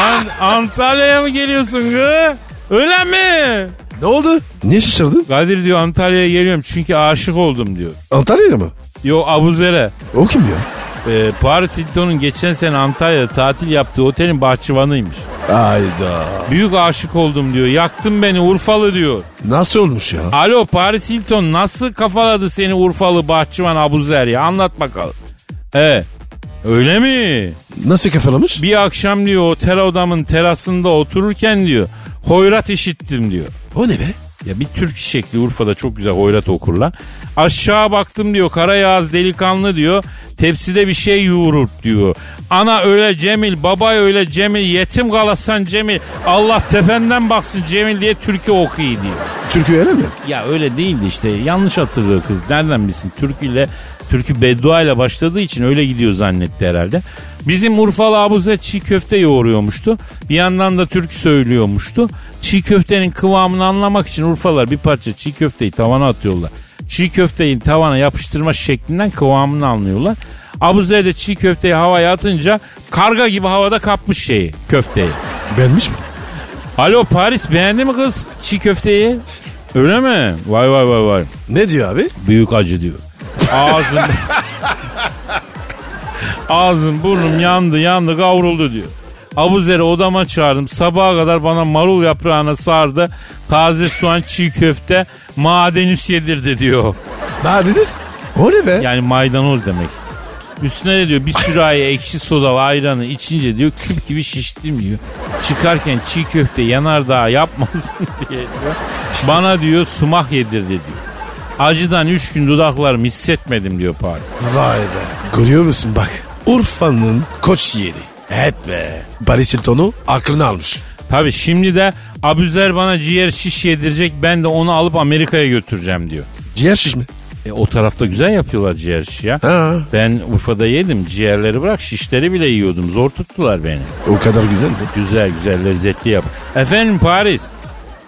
Speaker 2: An- Antalya'ya mı geliyorsun kız? Öyle mi?
Speaker 3: Ne oldu? Niye şaşırdın?
Speaker 2: Kadir diyor Antalya'ya geliyorum çünkü aşık oldum diyor.
Speaker 3: Antalya'ya mı?
Speaker 2: Yo Abuzer'e.
Speaker 3: O kim ya?
Speaker 2: Ee, Paris Hilton'un geçen sene Antalya'da tatil yaptığı otelin bahçıvanıymış.
Speaker 3: Ayda.
Speaker 2: Büyük aşık oldum diyor. Yaktın beni Urfalı diyor.
Speaker 3: Nasıl olmuş ya?
Speaker 2: Alo Paris Hilton nasıl kafaladı seni Urfalı bahçıvan Abuzer ya? Anlat bakalım. Evet. Öyle mi?
Speaker 3: Nasıl kafalamış?
Speaker 2: Bir akşam diyor otel odamın terasında otururken diyor. Hoyrat işittim diyor.
Speaker 3: O ne be?
Speaker 2: Ya bir Türk şekli Urfa'da çok güzel hoyrat okurlar. Aşağı baktım diyor kara yağız delikanlı diyor. Tepside bir şey yoğurur diyor. Ana öyle Cemil, baba öyle Cemil, yetim kalasan Cemil. Allah tependen baksın Cemil diye türkü okuyor diyor.
Speaker 3: Türkü öyle mi?
Speaker 2: Ya öyle değildi işte yanlış hatırlıyor kız. Nereden bilsin türküyle, türkü beddua ile başladığı için öyle gidiyor zannetti herhalde. Bizim Urfalı abuze çiğ köfte yoğuruyormuştu. Bir yandan da türkü söylüyormuştu. Çiğ köftenin kıvamını anlamak için Urfalar bir parça çiğ köfteyi tavana atıyorlar. Çiğ köfteyi tavana yapıştırma şeklinden kıvamını anlıyorlar. Abuzer de çiğ köfteyi havaya atınca karga gibi havada kapmış şeyi köfteyi.
Speaker 3: Benmiş mi?
Speaker 2: Alo Paris beğendi mi kız çiğ köfteyi? Öyle mi? Vay vay vay vay.
Speaker 3: Ne diyor abi?
Speaker 2: Büyük acı diyor. Ağzım... Ağzım burnum yandı yandı kavruldu diyor. Abuzer'i odama çağırdım. Sabaha kadar bana marul yaprağına sardı. Taze soğan çiğ köfte madenüs yedirdi diyor.
Speaker 3: Madeniz? O ne be?
Speaker 2: Yani maydanoz demek. Üstüne de diyor bir sürahi ekşi sodalı ayranı içince diyor küp gibi şiştim diyor. Çıkarken çiğ köfte yanardağ yapmasın diye diyor. Bana diyor sumak yedirdi diyor. Acıdan üç gün dudaklarımı hissetmedim diyor Paris.
Speaker 3: Vay be. Görüyor musun bak. Urfa'nın koç yeri. Evet be. Paris Hilton'u aklını almış.
Speaker 2: Tabi şimdi de Abuzer bana ciğer şiş yedirecek ben de onu alıp Amerika'ya götüreceğim diyor.
Speaker 3: Ciğer şiş mi?
Speaker 2: E, o tarafta güzel yapıyorlar ciğer şiş ya.
Speaker 3: Ha.
Speaker 2: Ben Urfa'da yedim ciğerleri bırak şişleri bile yiyordum zor tuttular beni.
Speaker 3: O kadar güzel mi?
Speaker 2: Güzel güzel lezzetli yap. Efendim Paris.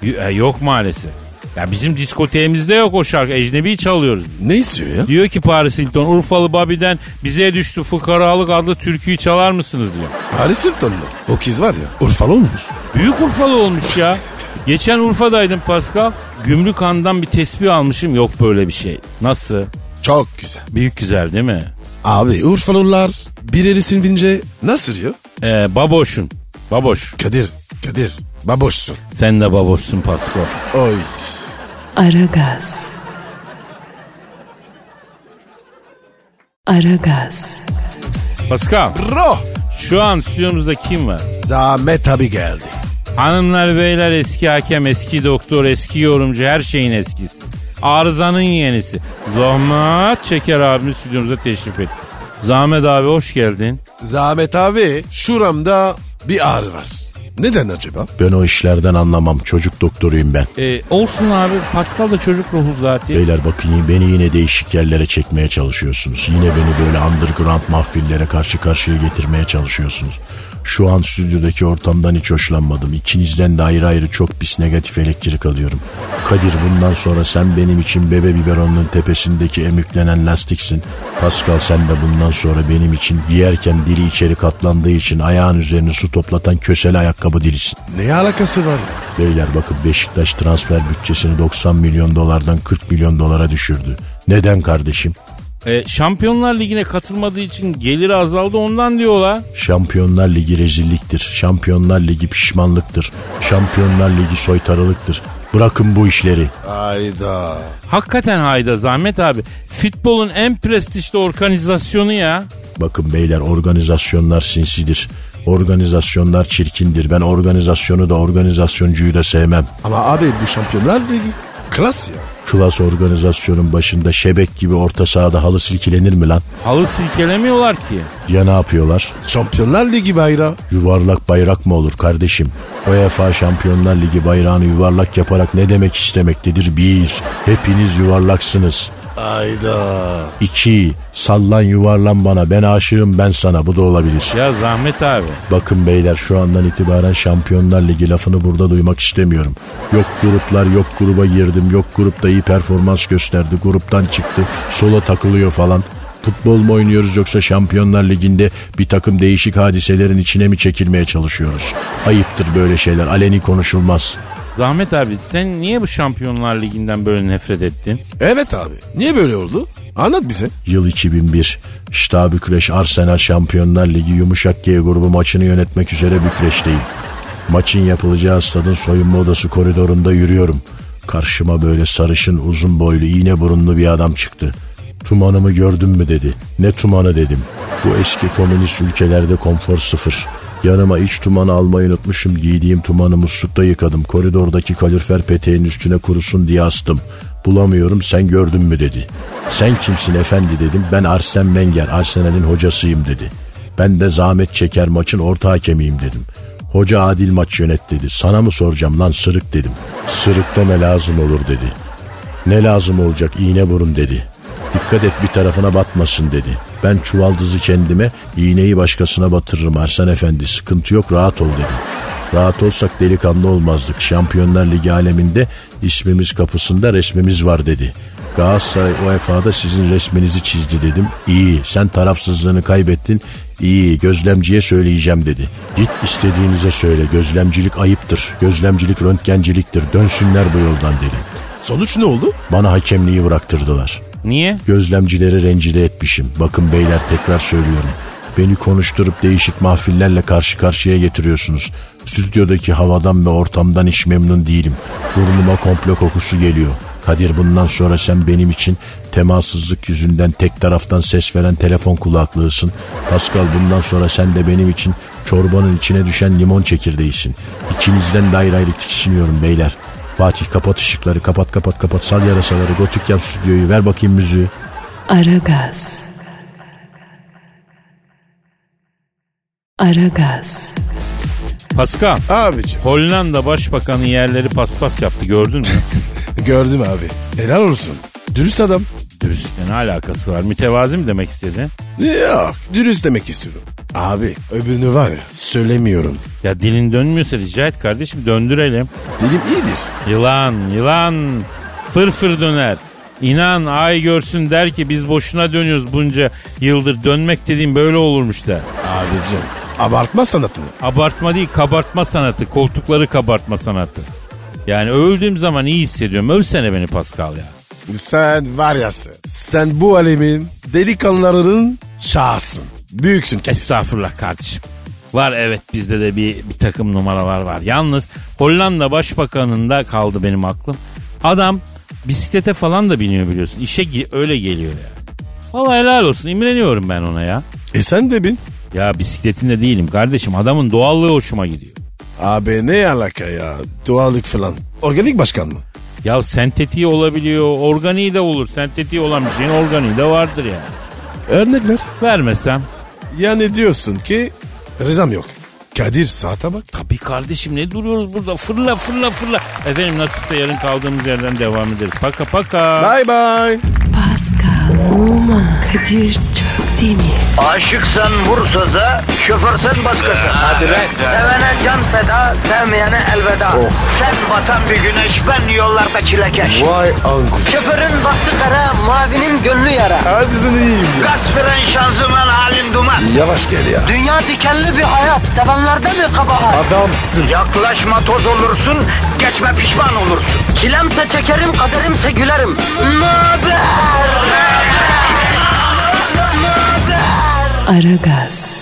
Speaker 2: Y- e, yok maalesef. Ya bizim diskoteğimizde yok o şarkı. Ecnebi çalıyoruz.
Speaker 3: Ne istiyor ya?
Speaker 2: Diyor ki Paris Hilton Urfalı Babi'den bize düştü fukaralık adlı türküyü çalar mısınız diyor.
Speaker 3: Paris Hilton mu? O kız var ya Urfalı olmuş.
Speaker 2: Büyük Urfalı olmuş ya. Geçen Urfa'daydım Pascal. Gümrük Han'dan bir tesbih almışım. Yok böyle bir şey. Nasıl?
Speaker 3: Çok güzel.
Speaker 2: Büyük güzel değil mi?
Speaker 3: Abi Urfalılar bir eli silvince nasıl diyor?
Speaker 2: Ee, baboşun. Baboş.
Speaker 3: Kadir, Kadir baboşsun.
Speaker 2: Sen de baboşsun Pascal.
Speaker 3: Oy.
Speaker 1: Aragaz. Aragaz.
Speaker 2: Pascal
Speaker 3: Bro.
Speaker 2: şu an stüdyomuzda kim var?
Speaker 3: Zahmet abi geldi.
Speaker 2: Hanımlar beyler eski hakem, eski doktor, eski yorumcu her şeyin eskisi. Arızanın yenisi. Zahmet Çeker abimiz stüdyomuza teşrif etti. Zahmet abi hoş geldin.
Speaker 3: Zahmet abi şuramda bir ağrı var. Neden acaba?
Speaker 5: Ben o işlerden anlamam. Çocuk doktoruyum ben.
Speaker 2: Ee, olsun abi Pascal da çocuk ruhlu zaten.
Speaker 5: Beyler bakın beni yine değişik yerlere çekmeye çalışıyorsunuz. Yine beni böyle underground mahfillere karşı karşıya getirmeye çalışıyorsunuz. Şu an stüdyodaki ortamdan hiç hoşlanmadım. İkinizden de ayrı ayrı çok pis negatif elektrik alıyorum. Kadir bundan sonra sen benim için bebe biberonunun tepesindeki emüklenen lastiksin. Pascal sen de bundan sonra benim için giyerken dili içeri katlandığı için ayağın üzerine su toplatan köseli ayakkabı dilisin.
Speaker 3: Ne alakası var ya?
Speaker 5: Beyler bakın Beşiktaş transfer bütçesini 90 milyon dolardan 40 milyon dolara düşürdü. Neden kardeşim?
Speaker 2: Ee, Şampiyonlar Ligi'ne katılmadığı için geliri azaldı ondan diyorlar.
Speaker 5: Şampiyonlar Ligi rezilliktir. Şampiyonlar Ligi pişmanlıktır. Şampiyonlar Ligi soytarılıktır. Bırakın bu işleri.
Speaker 3: Ayda.
Speaker 2: Hakikaten hayda Zahmet abi. Futbolun en prestijli organizasyonu ya.
Speaker 5: Bakın beyler organizasyonlar sinsidir. Organizasyonlar çirkindir. Ben organizasyonu da organizasyoncuyu da sevmem.
Speaker 3: Ama abi bu şampiyonlar ligi klas ya.
Speaker 5: Klas organizasyonun başında şebek gibi orta sahada halı silkilenir mi lan?
Speaker 2: Halı silkelemiyorlar ki.
Speaker 5: Ya ne yapıyorlar?
Speaker 3: Şampiyonlar ligi bayrağı.
Speaker 5: Yuvarlak bayrak mı olur kardeşim? UEFA Şampiyonlar Ligi bayrağını yuvarlak yaparak ne demek istemektedir? Bir, hepiniz yuvarlaksınız.
Speaker 3: Ayda.
Speaker 5: İki, sallan yuvarlan bana ben aşığım ben sana bu da olabilir.
Speaker 2: Ya Zahmet abi.
Speaker 5: Bakın beyler şu andan itibaren Şampiyonlar Ligi lafını burada duymak istemiyorum. Yok gruplar yok gruba girdim yok grupta iyi performans gösterdi gruptan çıktı sola takılıyor falan. Futbol mu oynuyoruz yoksa Şampiyonlar Ligi'nde bir takım değişik hadiselerin içine mi çekilmeye çalışıyoruz? Ayıptır böyle şeyler aleni konuşulmaz.
Speaker 2: Zahmet abi sen niye bu Şampiyonlar Ligi'nden böyle nefret ettin?
Speaker 3: Evet abi. Niye böyle oldu? Anlat bize.
Speaker 5: Yıl 2001. Şta Bükreş Arsenal Şampiyonlar Ligi Yumuşak G grubu maçını yönetmek üzere Bükreş'teyim. Maçın yapılacağı stadın soyunma odası koridorunda yürüyorum. Karşıma böyle sarışın uzun boylu iğne burunlu bir adam çıktı. Tumanımı gördün mü dedi. Ne tumanı dedim. Bu eski komünist ülkelerde konfor sıfır. Yanıma iç tumanı almayı unutmuşum. Giydiğim tumanı muslukta yıkadım. Koridordaki kalorifer peteğin üstüne kurusun diye astım. Bulamıyorum sen gördün mü dedi. Sen kimsin efendi dedim. Ben Arsene Wenger, Arsenal'in hocasıyım dedi. Ben de zahmet çeker maçın orta hakemiyim dedim. Hoca adil maç yönet dedi. Sana mı soracağım lan sırık dedim. Sırık deme lazım olur dedi. Ne lazım olacak iğne burun dedi. Dikkat et bir tarafına batmasın dedi. Ben çuvaldızı kendime iğneyi başkasına batırırım Arslan Efendi sıkıntı yok rahat ol dedim. Rahat olsak delikanlı olmazdık. Şampiyonlar Ligi aleminde ismimiz kapısında resmimiz var dedi. Galatasaray UEFA'da sizin resminizi çizdi dedim. İyi sen tarafsızlığını kaybettin. İyi gözlemciye söyleyeceğim dedi. Git istediğinize söyle gözlemcilik ayıptır. Gözlemcilik röntgenciliktir. Dönsünler bu yoldan dedim.
Speaker 3: Sonuç ne oldu?
Speaker 5: Bana hakemliği bıraktırdılar.
Speaker 2: Niye?
Speaker 5: Gözlemcileri rencide etmişim. Bakın beyler tekrar söylüyorum. Beni konuşturup değişik mahfillerle karşı karşıya getiriyorsunuz. Stüdyodaki havadan ve ortamdan hiç memnun değilim. Burnuma komplo kokusu geliyor. Kadir bundan sonra sen benim için temassızlık yüzünden tek taraftan ses veren telefon kulaklığısın. Pascal bundan sonra sen de benim için çorbanın içine düşen limon çekirdeğisin. İkinizden de ayrı ayrı tiksiniyorum beyler. Fatih kapat ışıkları kapat kapat kapat sal yarasaları gotik yap stüdyoyu ver bakayım müziği.
Speaker 1: Aragaz. Aragaz.
Speaker 2: Pascal.
Speaker 3: Abicim
Speaker 2: Hollanda Başbakanı yerleri paspas yaptı gördün mü?
Speaker 3: gördüm abi. Helal olsun. Dürüst adam.
Speaker 2: Dürüstle ne alakası var? Mütevazi mi demek istedi?
Speaker 3: Yok dürüst demek istiyorum. Abi öbürünü var ya söylemiyorum.
Speaker 2: Ya dilin dönmüyorsa rica et kardeşim döndürelim.
Speaker 3: Dilim iyidir.
Speaker 2: Yılan, yılan fırfır döner. İnan ay görsün der ki biz boşuna dönüyoruz bunca yıldır. Dönmek dediğim böyle olurmuş der.
Speaker 3: Abicim abartma sanatını.
Speaker 2: Abartma değil kabartma sanatı. Koltukları kabartma sanatı. Yani öldüğüm zaman iyi hissediyorum. Ölsene beni Pascal ya.
Speaker 3: Sen var ya sen. Sen bu alemin delikanlılarının şahsın. Büyüksün kesin.
Speaker 2: Estağfurullah kardeşim. Var evet bizde de bir, bir takım numaralar var. Yalnız Hollanda Başbakanı'nda kaldı benim aklım. Adam bisiklete falan da biniyor biliyorsun. İşe gi- öyle geliyor yani. Vallahi helal olsun imreniyorum ben ona ya.
Speaker 3: E sen de bin.
Speaker 2: Ya bisikletinde değilim kardeşim adamın doğallığı hoşuma gidiyor.
Speaker 3: Abi ne alaka ya? Doğallık falan. Organik başkan mı?
Speaker 2: Ya sentetiği olabiliyor organiği de olur. Sentetiği olan bir şeyin organiği de vardır yani.
Speaker 3: Örnek ver.
Speaker 2: Vermesem
Speaker 3: Yani diyorsun ki rızam yok. Kadir saate bak.
Speaker 2: Tabii kardeşim ne duruyoruz burada fırla fırla fırla. Efendim nasipse yarın kaldığımız yerden devam ederiz. Paka paka.
Speaker 3: Bye bye.
Speaker 1: Pascal, Oman, Kadir çok değil mi?
Speaker 6: Aşıksan vursa da, şoförsen başkasın. Hadi
Speaker 7: lan.
Speaker 6: Sevene can feda, sevmeyene elveda. Sen batan bir güneş, ben yollarda çilekeş.
Speaker 3: Vay anku.
Speaker 6: Şoförün baktı kara, mavinin gönlü yara.
Speaker 3: Hadi sen iyiyim ya.
Speaker 6: Kasperen şanzıman halin duman.
Speaker 3: Yavaş gel ya.
Speaker 6: Dünya dikenli bir hayat, sevenlerde mi kabahar?
Speaker 3: Adamsın.
Speaker 6: Yaklaşma toz olursun, geçme pişman olursun. Çilemse çekerim, kaderimse gülerim. Möber!
Speaker 1: Aragaz.